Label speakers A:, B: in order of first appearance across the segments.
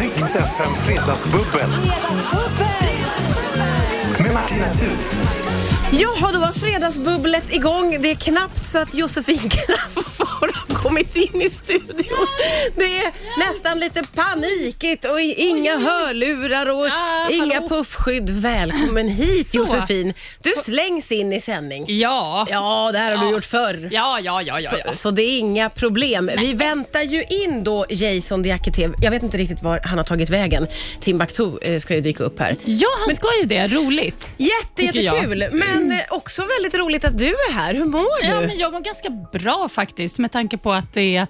A: Riks FM Fredagsbubbel med Martina Thun.
B: Jaha, då var fredagsbubblet igång. Det är knappt så att Josefin Crafoord har kommit in i studion. Det är nästan lite panikigt och i- inga hörlurar och
C: Ja,
B: inga
C: hallå.
B: puffskydd. Välkommen hit
C: Så.
B: Josefin. Du slängs in i sändning.
C: Ja. Ja,
B: Ja, det här har du
C: Ja.
B: gjort förr.
C: ja, ja, ja, ja.
B: Så, så det är inga problem. Vi väntar ju in då Jason Diakité. Jag vet inte riktigt var han har tagit vägen. Timbuktu eh, ska ju dyka upp här.
C: Ja, han ska ju det. Roligt.
B: Jätte,
C: Tycker jag. Mm.
B: jättekul, men eh, också väldigt roligt att du är här. Hur mår du?
C: Ja, men jag mår ganska bra faktiskt med tanke på att det är,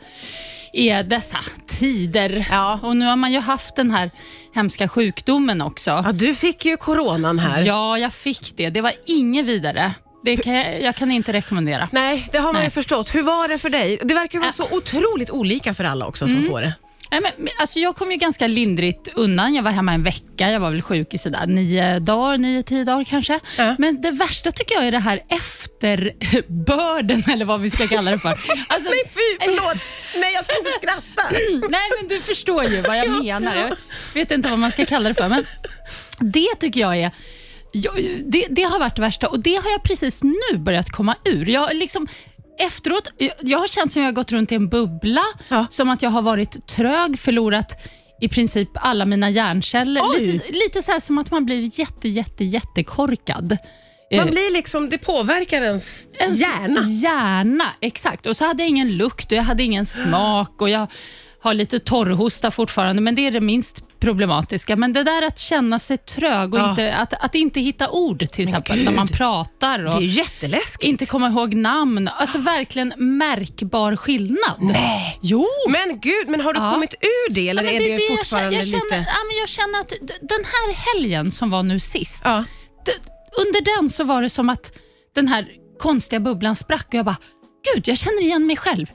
C: är dessa tider.
B: Ja.
C: Och nu har man ju haft den här hemska sjukdomen också.
B: Ja, du fick ju coronan här.
C: Ja, jag fick det. Det var inget vidare. Det kan jag, jag kan inte rekommendera.
B: Nej, det har man ju
C: Nej.
B: förstått. Hur var det för dig? Det verkar vara så otroligt olika för alla också som
C: Mm.
B: får det.
C: Nej, men, alltså, jag kom ju ganska lindrigt undan. Jag var hemma en vecka. Jag var väl sjuk i sådär nio dagar, nio, tio dagar kanske.
B: Ja.
C: Men det värsta tycker jag är det här efterbörden, eller vad vi ska kalla det för. Alltså,
B: Nej, fy, förlåt. Nej, jag ska inte skratta.
C: Nej, men du förstår ju vad jag menar. Jag vet inte vad man ska kalla det för, men det tycker jag är jag, det, det har varit det värsta och det har jag precis nu börjat komma ur. Jag har liksom efteråt, jag, jag har känt som jag har gått runt i en bubbla,
B: Ja.
C: som att jag har varit trög, förlorat i princip alla mina hjärnceller.
B: Oj!
C: Lite, lite så här som att man blir jätte, jätte, jättekorkad. Eh,
B: Man blir liksom, det påverkar ens,
C: ens
B: hjärna.
C: Hjärna, exakt. Och så hade jag ingen lukt och jag hade ingen smak och jag har lite torrhosta fortfarande, men det är det minst problematiska. Men det där att känna sig trög och
B: Ja.
C: inte, att, att inte hitta ord till exempel när man pratar
B: Det är
C: och
B: ju jätteläskigt.
C: inte komma ihåg namn. Alltså verkligen märkbar skillnad. Nej. Jo!
B: Men gud, men har du
C: Ja.
B: kommit ur det eller
C: Ja, men
B: är det,
C: jag känner-
B: fortfarande
C: jag känner,
B: lite...
C: ja, men jag känner att d- den här helgen som var nu sist,
B: Ja.
C: d- under den så var det som att den här konstiga bubblan sprack och jag bara, gud, jag känner igen mig själv.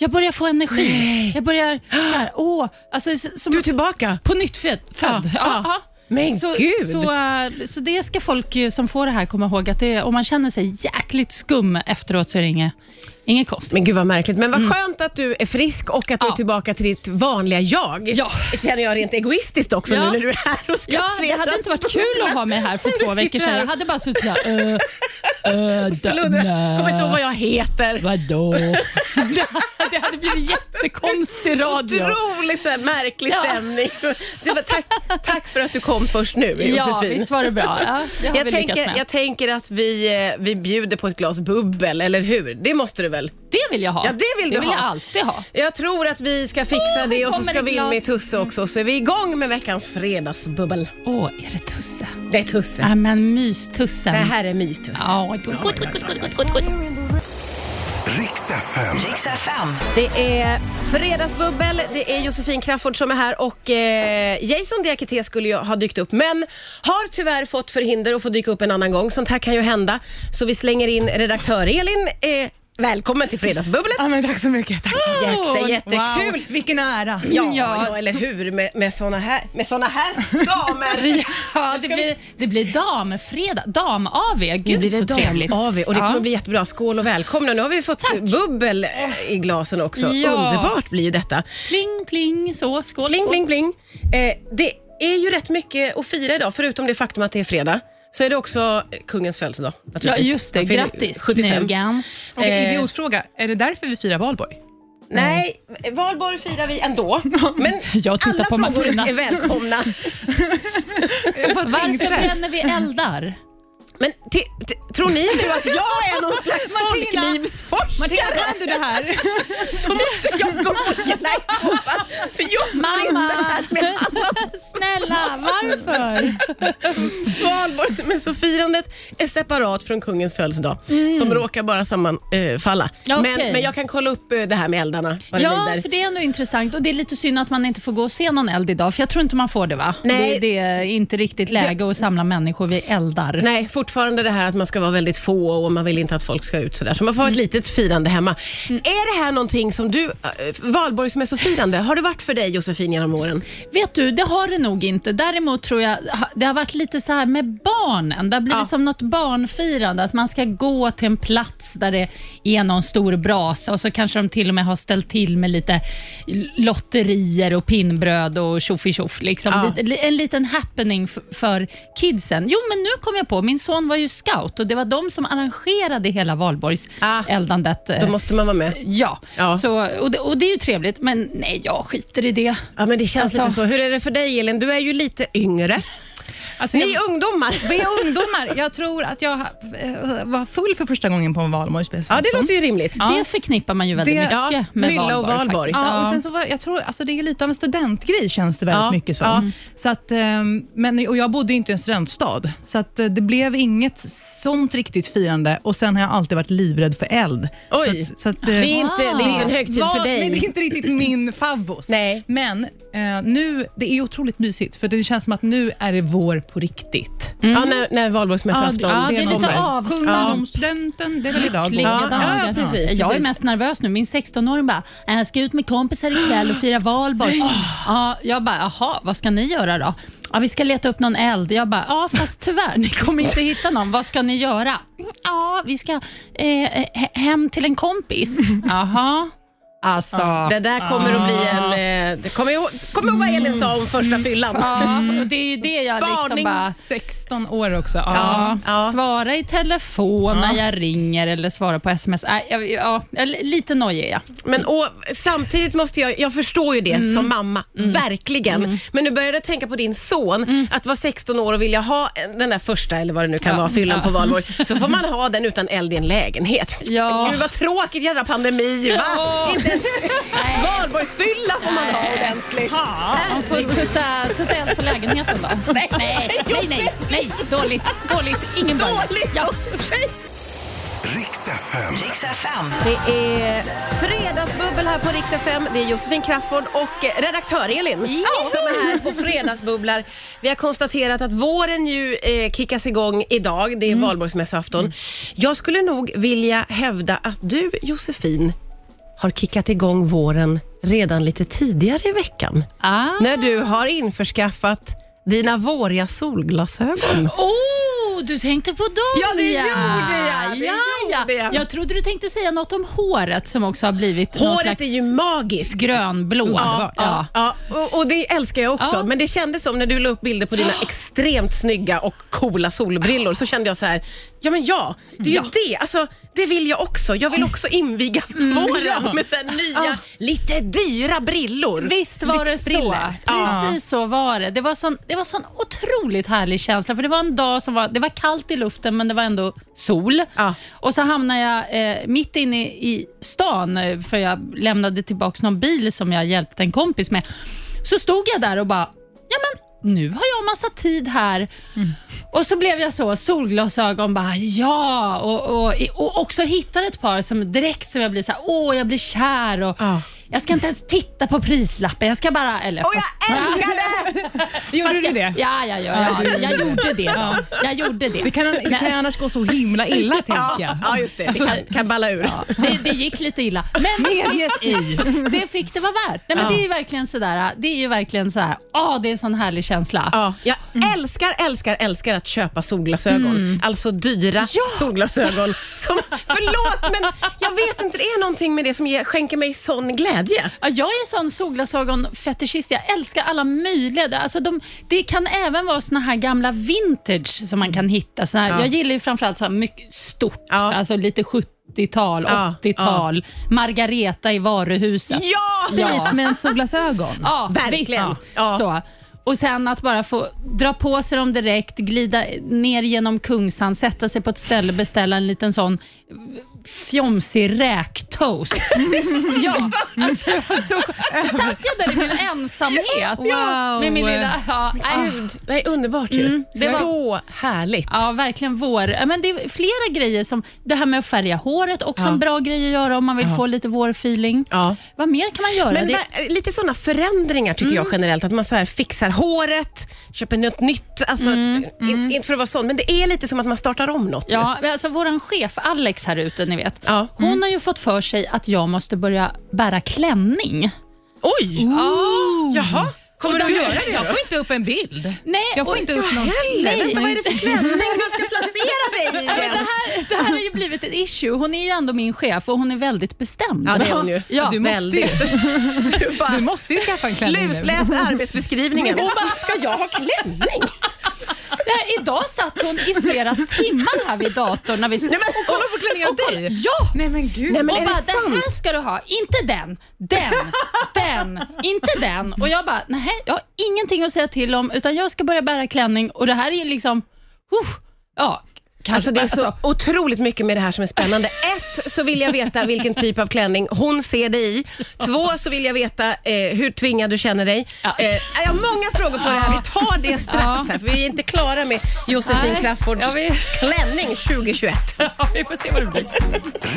C: Jag börjar få energi. Jag börjar så här, åh, alltså s- som
B: Du är tillbaka.
C: på nytt född. född.
B: Ja, ja. Men
C: så,
B: gud.
C: Så, äh, så det ska folk ju som får det här komma ihåg, att det, om man känner sig jäkligt skum efteråt så är det inget, inget konstigt.
B: Men gud vad märkligt. Men vad skönt att du är frisk och att du
C: Mm. Ja.
B: är tillbaka till ditt vanliga jag.
C: Ja.
B: Det känner jag rent egoistiskt också
C: Ja.
B: nu när du är här och ska
C: Ja, det hade inte varit kul att ha mig här för två veckor sedan. Jag hade bara suttit såhär... Uh,
B: Kommer inte ihåg vad jag heter.
C: Vadå? Det, det hade blivit jättekonstig radio.
B: Otroligt så här, märklig
C: Ja.
B: stämning. Det var, tack, tack för att du kom först nu
C: Ja,
B: Josefin.
C: visst var det bra? Ja, det har
B: jag,
C: vi lyckats
B: tänker,
C: med.
B: jag tänker att vi, eh, vi bjuder på ett glas bubbel, eller hur? Det måste du väl?
C: Det vill jag ha.
B: Ja, det vill du
C: jag
B: ha.
C: alltid ha.
B: Jag tror att vi ska fixa
C: Åh,
B: det
C: här
B: och så
C: kommer
B: ska
C: ett
B: vi in
C: glas.
B: med Tusse också så är vi igång med veckans fredagsbubbel.
C: Åh, är det Tusse?
B: Det är Tusse.
C: Ja, men mystussen.
B: Det här är mystusse.
C: Ja, gott, gott, gott, gott, gott, gott, gott.
A: Riks FM.
B: Det är fredagsbubbel, det är Josefin Crafoord som är här och eh, Jason Diakité skulle ju ha dykt upp men har tyvärr fått förhinder och får dyka upp en annan gång. Sånt här kan ju hända. Så vi slänger in redaktör Elin. Eh, välkommen till fredagsbubblet.
D: Ja, men tack så mycket. Tack.
B: Jätte, jättekul.
D: Wow, vilken ära. Mm.
B: Ja, ja.
C: Ja.
B: eller hur med, med såna här, med såna här damer.
C: Ja, det blir, det blir damfredag. Dam-AV. Gud, så trevligt.
B: av och det kommer
C: Ja.
B: bli jättebra. Skål och välkomna. Nu har vi fått
C: Tack.
B: bubbel eh, i glasen också.
C: Ja.
B: Underbart blir ju detta.
C: Pling, pling, så. Skål.
B: Pling, pling, pling. Eh, det är ju rätt mycket att fira idag, förutom det faktum att det är fredag. Så är det också eh, kungens födelsedag.
C: Ja,
B: naturligtvis.
C: just det.
B: Han fyller
C: Grattis,
B: 75.
C: Knugan.
D: Okej,
B: Eh.
D: idiotfråga. Är det därför vi firar valborg?
B: Nej, valborg firar vi ändå. Men
C: Jag tittar
B: alla
C: på
B: frågor
C: Martina.
B: är välkomna.
D: Jag bara
C: Eh, Varför
D: tänkte.
C: bränner vi eldar?
B: Men ti- ti- tror ni nu att jag är någon slags
D: Martina.
B: folklivsforskare?
D: Martina, kan du det här?
B: Då måste jag gå och gilla ihop. För jag står inte
C: Mamma!
B: här med
C: Snälla, varför?
B: valborg. Men så firandet är separat från kungens födelsedag. De råkar bara sammanfalla.
C: Mm. Ja,
B: men,
C: okej.
B: men jag kan kolla upp eh, det här med eldarna. Vad det
C: Ja,
B: lider.
C: för det är ändå intressant och det är lite synd att man inte får gå och se någon eld idag, för jag tror inte man får det va?
B: Nej.
C: Det, det är inte riktigt läge att samla människor vid eldar.
B: Nej, fortfarande det här att man ska vara väldigt få och man vill inte att folk ska ut sådär. Så man får ha ett
C: Mm.
B: litet firande hemma. Är det här någonting som du, eh, valborgsmässofirande, har det varit för dig Josefin genom åren?
C: Vet du, det har det nog inte. Däremot tror tror jag, ha- det har varit lite så här med barnen. Det har blivit
B: Ja.
C: som något barnfirande, att man ska gå till en plats där det är någon stor brasa och så kanske de till och med har ställt till med lite lotterier och pinnbröd och tjoffi-tjoff. Liksom.
B: Ja.
C: Lite- li- En liten happening f- för kidsen. Jo, men nu kom jag på, min son var ju scout och det var de som arrangerade hela
B: Ah.
C: valborgseldandet.
B: Då
C: eh,
B: måste man vara med.
C: Ja,
B: Ja.
C: Så, och, det, och det är ju trevligt, men nej, jag skiter i det.
B: Ja, men det känns
C: Alltså-
B: lite så. Hur är det för dig Elin? Du är ju lite yngre.
D: Alltså,
B: Ni
D: jag,
B: ungdomar.
D: vi är ungdomar. Jag tror att jag eh, var full för första gången på en valborgsmässoafton.
B: Ja, det låter ju rimligt.
C: Det förknippar man ju väldigt
D: Det-
C: mycket
B: ja,
C: med
B: Mylla och
C: Valborg.
B: Valborg.
C: Faktiskt.
D: Ja, och
C: Ja.
D: sen så var, jag tror, alltså det är ju lite av en studentgrej känns det väldigt
B: Ja,
D: mycket som. Mm.
B: ja.
D: Så att, ehm, men, och jag bodde ju inte i en studentstad, så att eh, det blev inget sånt riktigt firande och sen har jag alltid varit livrädd för eld.
B: Oj.
D: Så att, så att, eh,
B: Det är inte, det är inte en
C: Ah.
B: högtid
D: var-
B: för
D: Nej, det är
B: dig.
D: inte riktigt min favvos.
B: Nej.
D: Men eh, nu, det är otroligt mysigt för det känns som att nu är det vår på riktigt.
B: Ja, när, när valborgsmässoafton
C: Ja, det är lite
B: kommer.
C: av-
D: Sjunga
B: Ja.
D: om studenten, det är väl idag.
C: Lyckliga
B: Ja,
C: dagar.
B: ja, precis,
C: jag är
B: precis.
C: mest nervös nu. Min 16-åring bara, "Äh, jag ska ut med kompisar ikväll och fira valborg. Ja, jag bara, jaha, vad ska ni göra då? Ja, vi ska leta upp någon eld. Jag bara, ja fast tyvärr, ni kommer inte hitta någon. Vad ska ni göra? Ja, vi ska eh, he- hem till en kompis. Jaha. Alltså,
B: Det där kommer att bli en...
C: Ah.
B: eh, det- Kom ihåg, kom ihåg vad
C: Mm.
B: Elin sa om första fyllan.
C: ja, och det är ju det jag liksom
B: Varning.
C: bara...
D: 16 år också.
C: Ja,
B: Ja.
C: Svara i telefon när jag ringer eller svara på sms. Nej, jag, ja, jag- lite nojig är jag.
B: Men och, samtidigt måste jag, jag förstår ju det
C: Mm.
B: som mamma, verkligen. Men nu började jag tänka på din son, att vara 16 år och vilja ha den där första, eller vad det nu kan
C: Mm. Ja,
B: vara, fyllan
C: ja.
B: på valborg. Så får man ha den utan eld i en lägenhet.
C: Ja.
B: Gud vad tråkigt, jädra pandemi. Va? Inte ens valborgsfylla får man ha ordentligt.
C: Man får tutta, tutta eld på lägenheten då. Nej, nej, nej, nej, nej. dåligt, dåligt, ingen början.
B: Dåligt.
C: Ja.
A: Riks FM.
E: Riks FM.
B: Det är Fredagsbubbel här på Rix FM. Det är Josefin Crafoord och eh, redaktör Elin
C: Ja.
B: som är här på Fredagsbubblar. Vi har konstaterat att våren ju eh, kickas igång idag. Det
C: Mm.
B: är valborgsmässoafton. Jag skulle nog vilja hävda att du Josefin har kickat igång våren redan lite tidigare i veckan.
C: Ah.
B: När du har införskaffat dina våriga solglasögon.
C: Oh, du tänkte på dem
B: Ja, det gjorde jag, det
C: ja,
B: gjorde
C: ja.
B: jag.
C: Jag trodde du tänkte säga något om håret som också har blivit någon
B: Håret
C: slags
B: är ju magiskt.
C: grönblå.
B: Ja, ja. Och, och det älskar jag också.
C: Ja.
B: Men det kändes som när du la upp bilder på dina extremt snygga och coola solbrillor så kände jag så här, ja men ja, det är
C: Ja.
B: ju det. Alltså, det vill jag också. Jag vill också inviga
C: Mm.
B: våren med så här nya, lite dyra brillor.
C: Visst var det så.
B: Lyxbriller. Ja.
C: Precis så var det. Det var, sån, det var sån otroligt härlig känsla. För Det var en dag som var, det var kallt i luften, men det var ändå sol.
B: Ja.
C: Och så hamnade jag eh, mitt inne i, i stan, eh, för jag lämnade tillbaka någon bil som jag hjälpte en kompis med. Så stod jag där och bara, ja men nu har jag massa tid här.
B: Mm.
C: Och så blev jag så, solglasögon bara ja och, och, och också hittade ett par som direkt som jag blir så här, åh jag blir kär och
B: Ja.
C: jag ska inte ens titta på prislappen, jag ska bara... Eller,
B: Och jag älskar det!
D: Gjorde
C: fast
D: du
C: jag,
D: det?
C: Ja, ja, ja, ja jag gjorde det. Då. Jag gjorde det.
D: Det kan, det kan ju annars gå så himla illa,
B: Ja,
D: tänker jag.
B: ja just det. Det kan, kan balla ur.
C: Ja, det, det gick lite illa. Men
D: Medget i.
C: det fick det vara värt. Nej, men Det är ju verkligen sådär, det är ju verkligen så här, ah, det är en sån härlig känsla.
B: Ja, jag älskar, älskar, älskar att köpa solglasögon. Alltså dyra solglasögon. Som, förlåt, men jag vet inte. Det är någonting med det som ger, skänker mig sån glädje.
C: Ja, jag är sån solglasögonfetischist. Jag älskar alla möjliga. Alltså de, det kan även vara såna här gamla vintage som man kan hitta. Såna här,
B: Ja.
C: Jag gillar ju framförallt så här mycket stort,
B: Ja.
C: alltså lite 70-tal,
B: Ja,
C: 80-tal. Margareta i varuhuset.
B: Ja!
C: Ja.
D: Statement solglasögon.
C: Ja,
B: Verkligen.
C: visst.
B: Ja.
C: Så. Och sen att bara få dra på sig dem direkt, glida ner genom Kungsan, sätta sig på ett ställe, beställa en liten sån fjomsig räktoast. ja, alltså, så, satt jag där i min ensamhet
D: Wow.
C: med min lilla... Ja, nej.
B: Gud, det är underbart ju. Mm. det var så härligt.
C: Ja, verkligen vår. ja, Men det är flera grejer som det här med att färga håret, också en bra grej att göra om man vill få lite vårfeeling.
B: Ja.
C: Vad mer kan man göra?
B: Men
C: Det-
B: va- lite sådana förändringar tycker jag generellt. Att man så här fixar håret, köper något nytt. Alltså, in- Inte för att vara sån, men det är lite som att man startar om något.
C: Ja, men alltså vår chef Alex här ute, ni vet.
B: Ja.
C: Hon har ju fått för sig att jag måste börja bära klänning.
B: Oj!
C: Ja.
B: Jaha. Kommer
C: Och
B: du
C: där-
B: göra det
D: Jag
B: då?
D: får inte upp en bild.
C: Nej,
D: jag får
C: och-
D: inte upp någon...
C: Nej.
B: Heller. Vänta, vad är det för klänning man ska placera dig i
C: Men det,
B: ens?
C: här, det här har ju blivit ett issue. Hon är ju ändå min chef och hon är väldigt bestämd.
B: Ja, det är hon ju.
C: Ja,
D: du, måste ju,
B: Du bara,
D: du måste ju skaffa en klänning nu.
B: lusläs arbetsbeskrivningen. Och bara, ska jag ha klänning?
C: Det här, idag satt hon i flera timmar här vid datorn. När vi,
D: Nej, men, och kolla på klänningar av dig.
C: ja!
D: Nej men gud.
B: Nej, men
C: och
B: är
C: bara,
B: det sant?
C: här ska du ha. Inte den, den, den, inte den. Och jag bara, nej, jag har ingenting att säga till om, utan jag ska börja bära klänning och det här är liksom, uff, ja, kanske,
B: Alltså det är så
C: alltså,
B: otroligt mycket med det här som är spännande. Ett, så vill jag veta vilken typ av klänning hon ser dig i. Två, så vill jag veta eh, hur tvingad du känner dig.
C: Ja.
B: Eh, jag har många frågor på det här. Vi tar det strax
C: Ja.
B: här, för vi är inte klara med Josefin
C: Nej.
B: Crafoords
C: Ja, vi-
B: klänning 2021.
C: ja, vi får se vad det blir.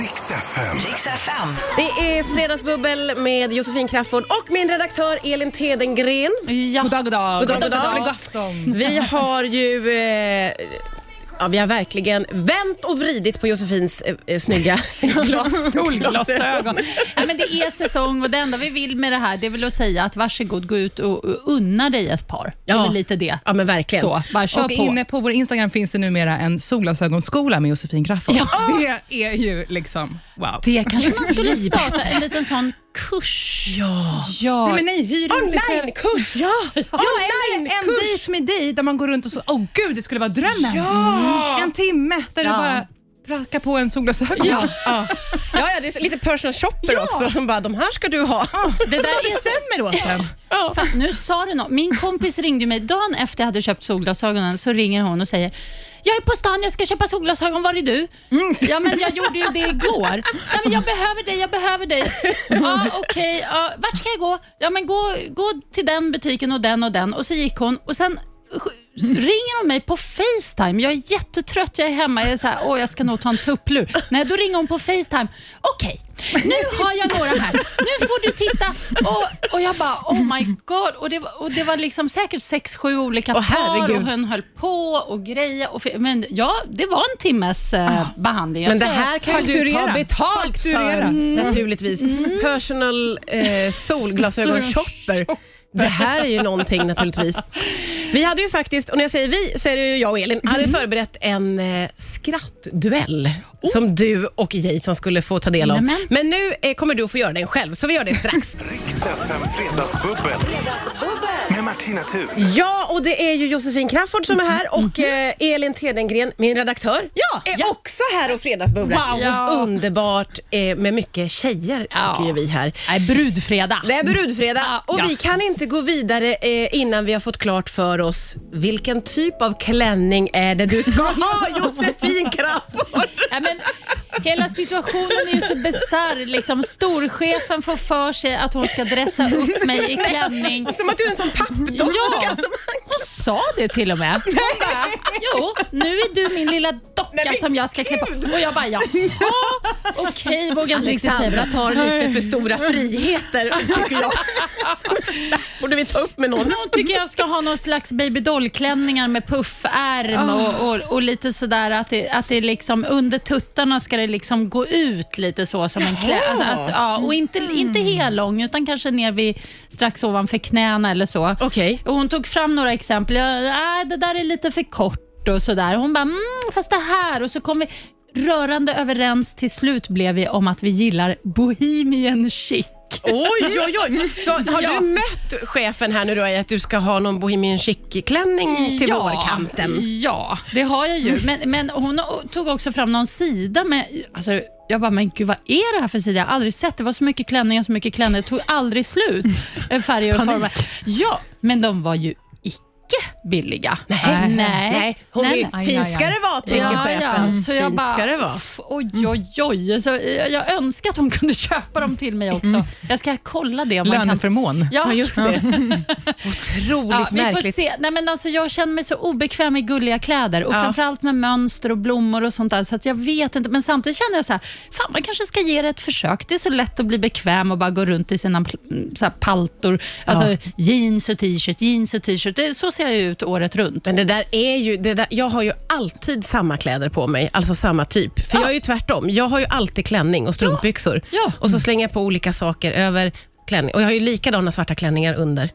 A: Riks FM.
E: Riks FM.
B: Det är Fredagsbubbel med Josefin Crafoord och min redaktör Elin Tedengren.
C: Ja.
D: God dag, god dag.
B: God dag, god dag.
D: God afton.
B: Vi har ju... Eh, ja, vi har verkligen vänt och vridit på Josefins eh, eh, snygga glas.
C: Solglasögon. Ja, men det är säsong och det enda vi vill med det här det är väl att säga att varsågod, gå ut och och unna dig ett par. Det är
B: Ja.
C: väl lite det.
B: Ja, men verkligen.
C: Så, bara kör
D: Och
C: på.
D: inne på vår Instagram finns det numera en solglasögonskola med Josefin Crafoord. Det är ju liksom wow.
C: Det kanske man skulle starta, en liten sån kurs. Ja. ja.
D: Nej, men nej, hyr inte själv.
B: Onlinekurs!
D: Ja, ja en,
B: Onlinekurs.
D: en dejt med dig där man går runt och så, åh gud det skulle vara drömmen. Mm. En timme där
C: Ja.
D: du bara prackar på en solglasögon.
C: Ja.
B: Ja. ja, ja, det är lite personal shopper också som bara, de här ska du ha.
C: det där
D: Vad
C: är så
D: bestämmer åt en?
C: Fan, nu sa du något. Min kompis ringde mig dagen efter jag hade köpt solglasögonen. Så ringer hon och säger jag är på stan, jag ska köpa solglasögon. Var är du? Ja, men jag gjorde ju det igår. Ja, men jag behöver dig, jag behöver dig. Ja, okej. Ja, vart ska jag gå? Ja, men gå, gå till den butiken och den och den. Och så gick hon och sen sk- ringer hon mig på Facetime. Jag är jättetrött, jag är hemma. Jag är så här, åh, jag ska nog ta en tupplur. Nej, då ringer hon på Facetime. Okej, nu har jag några här. Nu får du titta. Och, och jag bara, oh my god. Och det, var- och det var liksom säkert sex, sju olika
B: Åh,
C: par och
B: herregud.
C: hon höll på och grejer. Och, f- men ja, det var en timmes eh, behandling. Jag
B: Ah. Men det
C: ska-
B: här kan ju du ta
D: Fakturera.
B: betalt för
D: Fakturera.
B: naturligtvis. Personal eh, solglasögon-shopper. Det här är ju någonting naturligtvis. Vi hade ju faktiskt, och när jag säger vi så är det ju jag och Elin, hade förberett en eh, skrattduell som du och Jason skulle få ta del av.
C: Nämen.
B: Men nu eh, kommer du att få göra den själv, så vi gör det strax.
A: Riks FM Fredagsbubbel. Med Martina Thun.
B: Ja, och det är ju Josefin Crafoord som är här och eh, Elin Tedengren, min redaktör,
D: Ja.
B: är
C: Mhm. Ja.
B: också här och fredagsbubblar.
C: Wow. Ja.
B: Underbart eh, med mycket tjejer tycker
C: Ja.
B: ju vi här.
C: Nej, brudfredag.
B: Det är brudfredag
C: Ja.
B: och vi
C: Ja.
B: kan inte gå vidare eh, innan vi har fått klart för oss vilken typ av klänning är det du ska ha Josefin Crafoord?
C: Ja, men, hela situationen är ju så bisarr. Liksom, storchefen får för sig att hon ska dressa upp mig i klänning.
B: Som att du är en sån pappdocka.
C: Ja,
B: som man-
C: hon sa det till och med. Hon bara, jo, nu är du min lilla
B: Nej,
C: docka
B: men
C: som jag ska klä på. Och jag bara, jaha, okej, vågar inte riktigt säga.
B: Alexandra
C: vad-
B: tar lite för stora friheter tycker jag. Borde vi ta upp med någon?
C: Hon tycker jag ska ha någon slags babydollklänningar med puffärm
B: Ah.
C: och, och, och lite sådär att det, att det liksom under tuttarna ska det liksom gå ut lite så som en klä. Alltså att, ja, och inte, inte
B: Mm.
C: hellång utan kanske ner vid strax ovanför knäna eller så.
B: Okej.
C: Och hon tog fram några exempel. Jag, Nej, det där är lite för kort och sådär. Hon bara, mm, fast det här. Och så kom vi rörande överens till slut blev vi om att vi gillar bohemian chic.
B: Oj, oj, oj. Så har
C: Ja.
B: du mött chefen här nu då i att du ska ha någon bohemian chic-klänning till vårkanten?
C: Ja, det har jag ju. Men, men hon tog också fram någon sida med... Alltså, jag bara, men gud vad är det här för sida? Jag har aldrig sett. Det var så mycket klänningar, så mycket klänningar. Det tog aldrig slut. Eh, Färger och former. Ja, men de var ju icke billiga.
B: Nej.
C: Nej.
B: Nej, hon
C: Nej,
B: är,
C: nej.
B: fin
D: Aj, aj,
B: ska
D: aj.
B: det vara tänker chefen.
C: Så jag
B: Fint
C: bara,
B: ska det vara.
C: "Uff, Oj, oj, oj. Så jag, jag önskar att hon kunde köpa dem till mig också. Jag ska kolla det om man kan.
D: Löneförmån.
B: Mm. Ja, just det. Otroligt
C: Ja, vi får
B: märkligt.
C: se. Nej, men alltså, jag känner mig så obekväm i gulliga kläder och
B: Ja.
C: framförallt med mönster och blommor och sånt där. Så att jag vet inte. Men samtidigt känner jag så här, fan man kanske ska ge det ett försök. Det är så lätt att bli bekväm och bara gå runt i sina mm, så här, paltor. Alltså jeans och t-shirt, jeans och t-shirt. Det, så ser jag ju ut året runt.
B: Men det där är ju, det där, jag har ju alltid samma kläder på mig, alltså samma typ. För
C: Ja.
B: jag är ju tvärtom. Jag har ju alltid klänning och strumpbyxor.
C: Ja.
B: Och så slänger jag på olika saker över klänning. Och jag har ju likadana svarta klänningar under.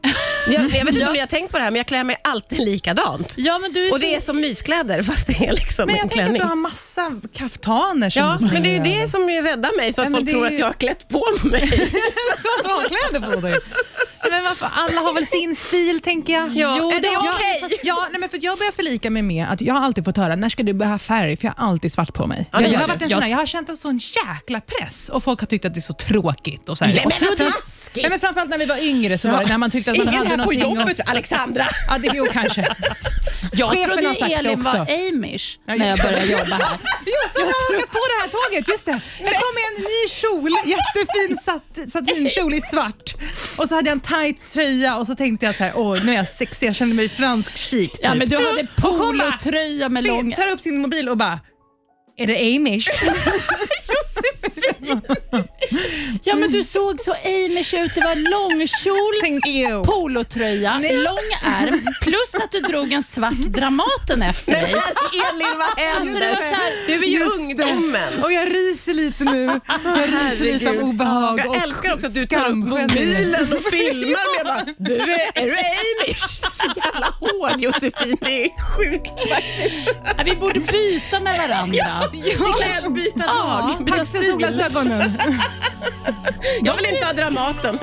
B: Jag, jag vet inte om ni har tänkt på det här, men jag klär mig alltid likadant.
C: Ja, men du är
B: Och
C: så-
B: det är som myskläder, fast det är liksom
D: Men
B: en
D: jag tänker att
B: klänning.
D: du har massa kaftaner som
B: Ja,
D: du
B: men det är ju det som ju räddar mig, så att
D: Nej, men
B: folk
D: det är
B: tror
D: ju-
B: att jag har klätt på mig.
D: Så att du har kläder på dig. Men varför? Alla har väl sin stil, tänker jag.
B: Ja,
C: Jo,
B: är det
C: det har-
B: okej?
C: fast-
D: Ja, nej men för att jag börjar förlika mig med att jag har alltid fått höra när ska du börja ha färg, för jag har alltid svart på mig.
B: Ja, det
D: jag,
B: gör
D: har
B: du.
D: varit en
C: Jag
D: sån här,
C: t-
D: jag har känt en sån jäkla press och folk har tyckt att det är så tråkigt. Och så här.
B: Nej,
D: Och-
B: men vad
D: nej,
B: taskigt!
D: men framförallt när vi var yngre så var det när man tyckte att man
B: Ingen
D: hade
B: här på
D: någonting.
B: jobbet,
D: Och,
B: Alexandra!
D: ja, det, jo, kanske.
C: Jag
D: Chefen
C: trodde
D: har sagt
C: ju
D: det
C: Elin
D: också.
C: var amish
D: Ja,
C: när jag
D: just-
C: började jobba här.
D: Just det, jag har hakat på det här tåget. Just det. Jag kom med en ny kjol, jättefin sat, satinkjol i svart. Och så hade jag en tight tröja och så tänkte jag så här, åh nu är jag sexig, jag känner mig fransk chic. Typ.
C: Ja, men du hade
D: Och kolla!
C: polotröja med
D: Finn
C: lång...
D: tar upp sin mobil och bara är det Amish?
C: Ja, men du såg så amish ut. Det var långkjol,
D: Thank you.
C: polotröja, lång ärm plus att du drog en svart Dramaten efter dig.
B: Elin, vad
C: Alltså, det var så här-
B: Du är ju
D: Just det.
B: ungdomen.
D: Och jag ryser lite nu. Jag ryser lite av
B: Herregud.
D: obehag
B: Jag
D: och
B: älskar också att du tar upp
D: skamskällning.
B: mobilen och filmar med bara, du är, är du amish? Så jävla hård Josefin, det är sjukt.
C: Ja, Vi borde byta med varandra.
B: Kläd, byta
C: Ja,
B: dag, byta
D: Tack för
B: stil.
D: solglasögonen.
B: Jag vill inte ha Dramaten.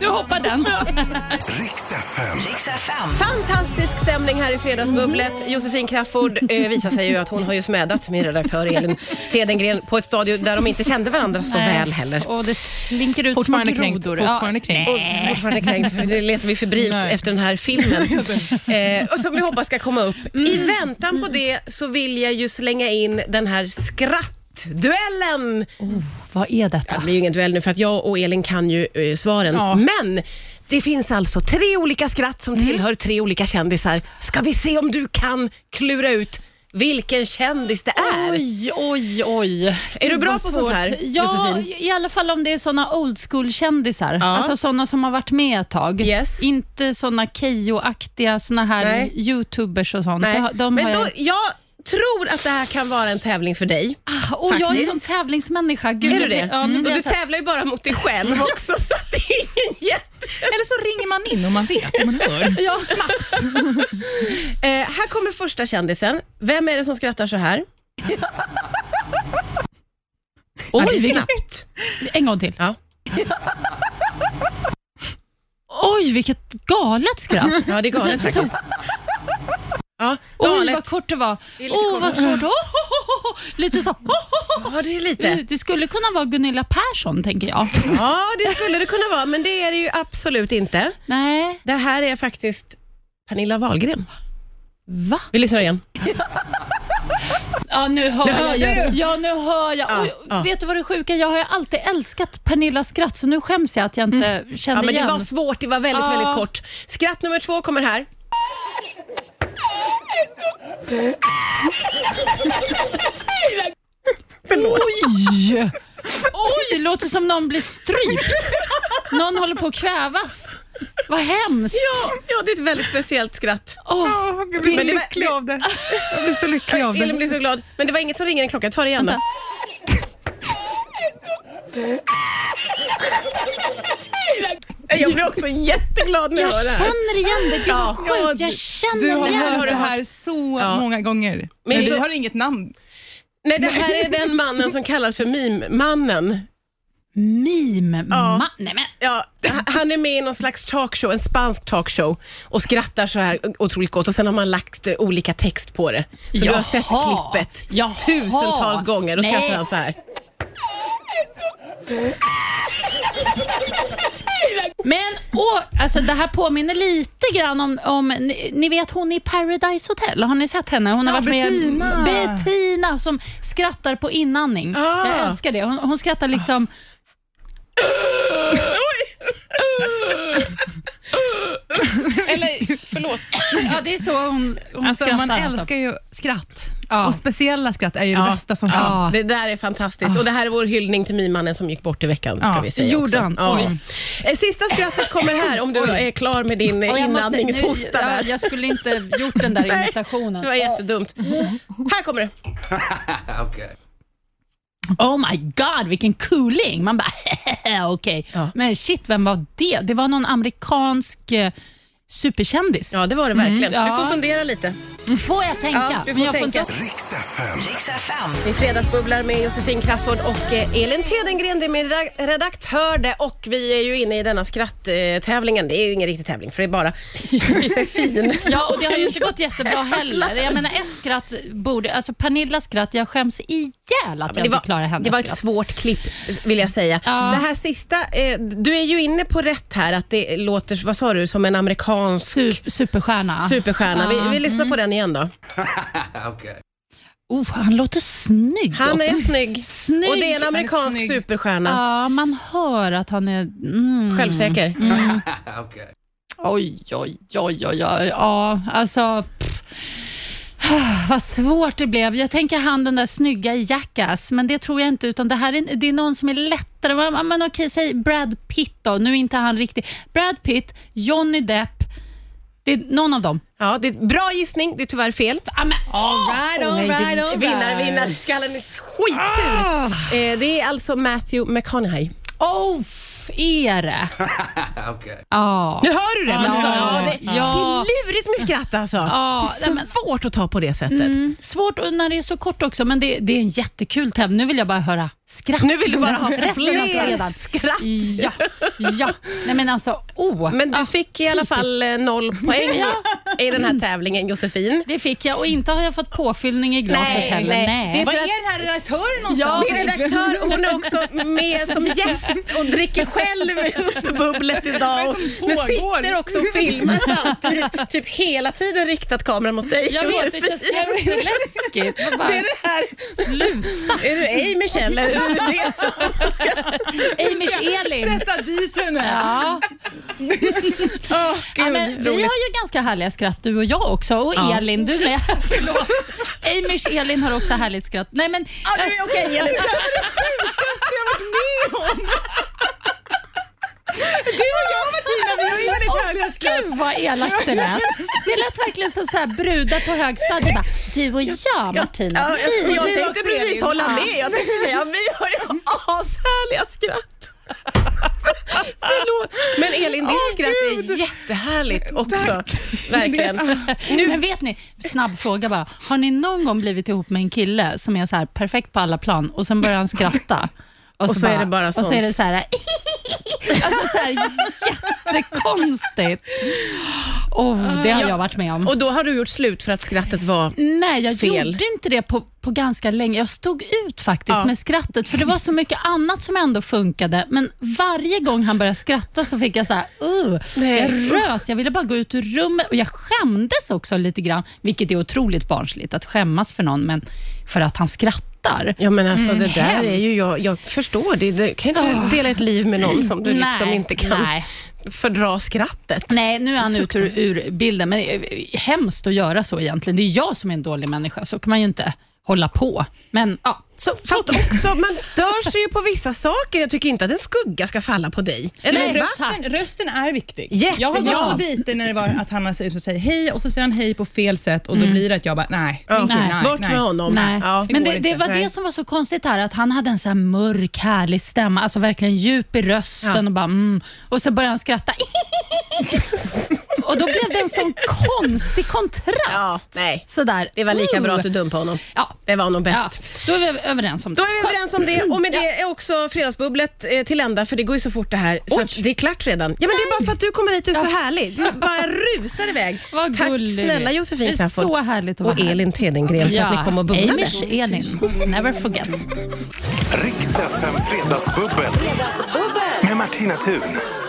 C: Du hoppar den.
A: Riks FM.
B: Fantastisk stämning här i Fredagsbubblet. Josefin Crafoord eh, visar sig ju att hon har ju smädat min redaktör Elin Tedengren på ett stadion där de inte kände varandra så väl heller.
C: Och det slinker ut
D: Fortfarande
C: små
D: kränkt.
C: grodor.
D: Fortfarande kränkt.
B: Och fortfarande kränkt, för det letar vi febrilt
D: Nej.
B: efter den här filmen. Eh, och som vi hoppas ska komma upp. I väntan på det så vill jag ju slänga in den här skrattduellen.
C: Ja, vad är
B: Det
C: detta?
B: blir ju ingen duell nu för att jag och Elin kan ju eh, svaren.
D: Ja.
B: Men det finns alltså tre olika skratt som
C: Mm.
B: tillhör tre olika kändisar. Ska vi se om du kan klura ut vilken kändis det är?
C: Oj, oj, oj.
B: Är du bra
C: vad
B: på sånt här,
C: Ja,
B: Josefin?
C: i alla fall om det är såna old school-kändisar. Alltså såna som har varit med ett tag.
B: Yes.
C: Inte såna Keyyo-aktiga, såna här
B: Nej.
C: youtubers och sånt.
B: Nej.
C: De, de
B: Men
C: har
B: då,
C: jag...
B: jag tror att det här kan vara en tävling för dig.
C: Ah, och jag är en
B: Faktiskt.
C: sån tävlingsmänniska. Gud,
B: Är
C: nu
B: du
C: blir-
B: det? Mm.
C: Ja, nu
B: Och
C: blir
B: du
C: jag så här-
B: tävlar ju bara mot dig själv också så att det är ingen jätte...
D: Eller så ringer man in om man vet, om man hör.
C: Ja, snabbt.
B: Eh, här kommer första kändisen. Vem är det som skrattar så här? Oj, ja, det är
C: vilken-
B: snabbt.
C: En gång till.
B: Ja.
C: Oj, vilket galet skratt.
B: Ja, det är galet
C: Alltså,
B: faktiskt. Ja,
C: Oj,
B: galet.
C: vad kort det var.
B: är
C: Åh,
B: lite kort.
C: vad svårt. Oh, oh, oh, oh. Lite så. Oh, oh, oh.
B: Ja, det är lite.
C: Det skulle kunna vara Gunilla Persson, tänker jag.
B: Ja, det skulle det kunna vara, men det är det ju absolut inte.
C: Nej,
B: Det här är faktiskt Pernilla Wahlgren.
C: va?
B: Vi lyssnar igen.
C: Ja, nu hör
B: hörde
C: jag.
B: du.
C: ju. Ja, nu hör jag.
B: Ja,
C: Och,
B: ja.
C: Vet du vad det sjuka är? Jag har ju alltid älskat Pernillas skratt, så nu skäms jag att jag inte kände
B: Ja, men det
C: igen.
B: var svårt, det var väldigt,
C: Ja.
B: väldigt kort. Skratt nummer två kommer här.
C: Oj! Oj, låter som någon blir strypt. Någon håller på att kvävas. Vad hemskt.
B: Ja, ja, det är ett väldigt speciellt skratt.
C: Åh,
D: Oh, jag blir så
B: Men det var-
D: lycklig av det. Jag blir så lycklig av
B: Elin
D: det.
B: blev så glad, men det var inget som ringer en klocka. Ta det igen då.
C: Vänta.
B: Jag blir också jätteglad när jag
C: Jag
B: hör det här.
C: känner igen det. Gud, vad
D: Ja,
C: sjukt.
D: du-
C: Jag känner
D: Du har
C: igen
B: här har
D: hört
B: du
D: det
B: hört.
D: här så
B: Ja.
D: många gånger. Men,
B: så-
D: vi har inget namn.
B: Nej, det här är den mannen som kallas för meme-mannen.
C: Meme.
B: Ja.
C: Ma- nej, men.
B: Ja, h- han är med i någon slags talkshow, en spansk talkshow och skrattar så här otroligt gott och sen har man lagt eh, olika text på det. Så du har sett
C: Jaha.
B: klippet
C: Jaha.
B: tusentals gånger och
C: Nej.
B: skrattar han så här.
C: Men åh, alltså det här påminner lite grann om, om ni, ni vet hon i Paradise Hotel, har ni sett henne? Hon har
D: Ja,
C: varit
D: Bettina.
C: med Bettina som skrattar på inandning.
B: Ah.
C: Jag älskar det. Hon, hon skrattar liksom
B: Eller förlåt.
C: Ja, det är så hon, hon
D: Alltså,
C: skrattar.
D: man
C: alltså.
D: älskar ju skratt.
C: Ja.
D: Och speciella skratt är ju det bästa som finns.
B: Det där är fantastiskt och det här är vår hyllning till meme-mannen som gick bort i veckan. Ska
D: Ja.
B: vi säga
C: Gjorde
B: också.
C: han? Oj.
B: Eh, Sista skrattet kommer här om du är klar med din eh,
C: Och jag, måste, nu,
B: inandningshosta
C: ja,
B: där.
C: jag skulle inte gjort den där
B: Nej,
C: imitationen.
B: Det var jättedumt. Här kommer det.
E: Okay.
C: Oh my god, vilken cooling! Man bara, okej.
B: Ja.
C: Men shit, vem var det? Det var någon amerikansk eh, superkändis.
B: Ja, det var det verkligen.
C: Mm,
B: Du
C: ja.
B: får fundera lite.
C: Får jag tänka?
B: Ja, du får
C: men jag
B: tänka.
C: Får
A: Riks FM.
E: Riks FM.
B: Vi fredagsbubblar med Josefin Crafoord och eh, Elin Tedengren, det är min redak- redaktör det och vi är ju inne i denna skratttävlingen. Det är ju ingen riktig tävling för det är bara Josefin.
C: inte, ja, och det har ju inte gått jättebra heller. Jag menar, ett skratt borde... Alltså Pernillas skratt, jag skäms ihjäl att jag
B: det,
C: inte
B: var,
C: klarar hennes
B: det var ett
C: skratt.
B: svårt klipp vill jag säga.
C: Ja.
B: Det här sista, eh, du är ju inne på rätt här att det låter, vad sa du, som en amerikansk
C: Sup- superstjärna.
B: superstjärna. Vi,
C: Ja. Mm.
B: vi lyssnar på den igen då.
C: Oh, han låter snygg
B: Han
C: också.
B: är snygg.
C: Snygg.
B: Och det är en amerikansk
D: snygg.
B: superstjärna.
C: Ja, man hör att han är... Mm.
B: Självsäker.
C: Oj, oj, oj, oj, oj. Ja, alltså... Pff, vad svårt det blev. Jag tänker han den där snygga i Jackass, men det tror jag inte. Utan det, här är, det är någon som är lättare. Men, men okej, säg Brad Pitt då. Nu är inte han riktigt... Brad Pitt, Johnny Depp. Det är någon av dem.
B: Ja, det är en bra gissning, det är tyvärr fel.
C: Ah, men, åh!
D: Right on,
B: Nej, det-
D: right on,
B: Vinnar,
D: right.
B: vinnar. Skallen är skitsur.
C: Ah,
B: Eh, det är alltså Matthew McConaughey.
C: oh, f- är det? Ja.
B: Nu hör du det! men-
C: Ja.
B: det, det
C: Ja.
B: är lurigt med skratt alltså.
C: Ja,
B: det är så
C: nej, men- Mm.
B: svårt att ta på det sättet.
C: Svårt och när det är så kort också, men det, det är en jättekul tävling. Nu vill jag bara höra skratt.
B: Nu vill du bara ha
C: Resten av
B: fler
C: fredagen.
B: skratt.
C: Ja, ja. Nej men alltså, oh.
B: Men du
C: Ja,
B: fick i alla
C: typiskt.
B: fall eh, noll poäng
C: Ja.
B: i den här tävlingen, Josefin.
C: Det fick jag och inte har jag fått påfyllning i glaset
B: Nej,
C: heller.
B: nej.
C: Nej.
B: Det är
D: Var
B: för
D: är den här redaktören
C: Ja.
D: någonstans?
B: Min redaktör hon är också med som gäst och dricker själv ur bubblet idag.
D: Vad
B: Och,
D: är det som
B: men
D: pågår?
B: sitter också och filmar samtidigt. Typ hela tiden riktat kameran mot dig.
C: Jag vet, det
B: Josefin.
C: känns jätteläskigt. Jag Bara,
B: Det är det här.
C: Sluta!
B: Är du Amish eller? Är du det som-
C: Amish Elin.
D: Sätta dit henne.
C: Ja.
B: Åh,
C: Ja,
B: gud,
C: men vi har
B: roligt.
C: ju ganska härliga skratt du och jag också och
B: Ja.
C: Elin, du med. Förlåt. Amish Elin har också härligt skratt. Nej men, eh,
B: Ja, nu är okej Elin.
D: sjukaste jag varit med om. Du och jag Martina, vi har ju väldigt härliga skratt.
C: Gud vad elakt det lät. Det lät verkligen som så här brudar på högstadiet. Bara, du och jag Martina.
B: Ja, jag, jag
D: du
B: tänkte
D: också,
B: precis
D: Elin.
B: hålla
D: Ja.
B: med. Jag tänkte säga vi har ju ashärliga skratt. Förlåt. Men Elin, ditt skratt är jättehärligt också. Verkligen.
C: Men vet ni, snabb fråga bara. Har ni någon gång blivit ihop med en kille som är så här perfekt på alla plan och sen börjar han skratta?
B: Och så är det bara
C: Och så
B: sånt.
C: är det så här, alltså så här jättekonstigt. Oh, det har jag varit med om.
B: Och då har du gjort slut för att skrattet var...
C: Nej, jag
B: Fel.
C: gjorde inte det på, på ganska länge. Jag stod ut faktiskt
B: Ja.
C: med skrattet, för det var så mycket annat som ändå funkade. Men varje gång han började skratta så fick jag så här, uh,
B: Nej.
C: jag rös. Jag ville bara gå ut ur rummet och jag skämdes också lite grann, vilket är otroligt barnsligt att skämmas för någon, men för att han skrattar.
B: Ja men alltså det där är ju,
C: Mm, hemskt.
B: jag, jag förstår det. Du kan ju inte dela ett liv med någon som du liksom inte kan
C: Nej.
B: fördra skrattet.
C: Nej, nu är han ute ur, ur bilden, men det är hemskt att göra så egentligen. Det är jag som är en dålig människa, så kan man ju inte hålla på. Men ja, så,
B: Fast också, man stör sig ju på vissa saker. Jag tycker inte att en skugga ska falla på dig. Eller
C: Nej,
B: va?
C: tack.
D: Rösten, rösten är viktig.
B: Jättebra.
D: Jag har gått på dejter när det var att han har sagt- så säger hej och så säger han hej på fel sätt och då blir det att jag bara nej.
B: Mm. Ja.
D: inte,
C: Nej.
B: Bort med honom.
C: Nej.
B: Ja.
C: Men
D: går
C: det,
D: inte.
C: det var
B: Nej.
C: det som var så konstigt här, att han hade en så här mörk, härlig stämma, alltså verkligen djup i rösten
B: Ja.
C: och bara mm. Och så började han skratta. och då blev det en sån konstig kontrast.
B: Ja, nej.
C: Sådär.
B: Det var lika
C: Mm.
B: bra att du dumpade honom.
C: Ja.
B: Det var nog
C: Ja,
B: bäst.
C: då är vi överens om det.
B: Då är vi överens om det och med det är också Fredagsbubblet eh, till ända för det går ju så fort det här så
C: Oj.
B: att det är klart redan. Ja men det är bara för att du kommer hit och är så härlig. Du bara rusar iväg.
C: Vad
B: Tack
C: gullig du är.
B: snälla Josefin
C: Det är
B: Crafoord.
C: så härligt att vara
B: och Elin Tedengren för att ni kom och bubblade.
C: Amish Elin, never forget.
A: Riks FM Fredagsbubbel. Med Martina Thun.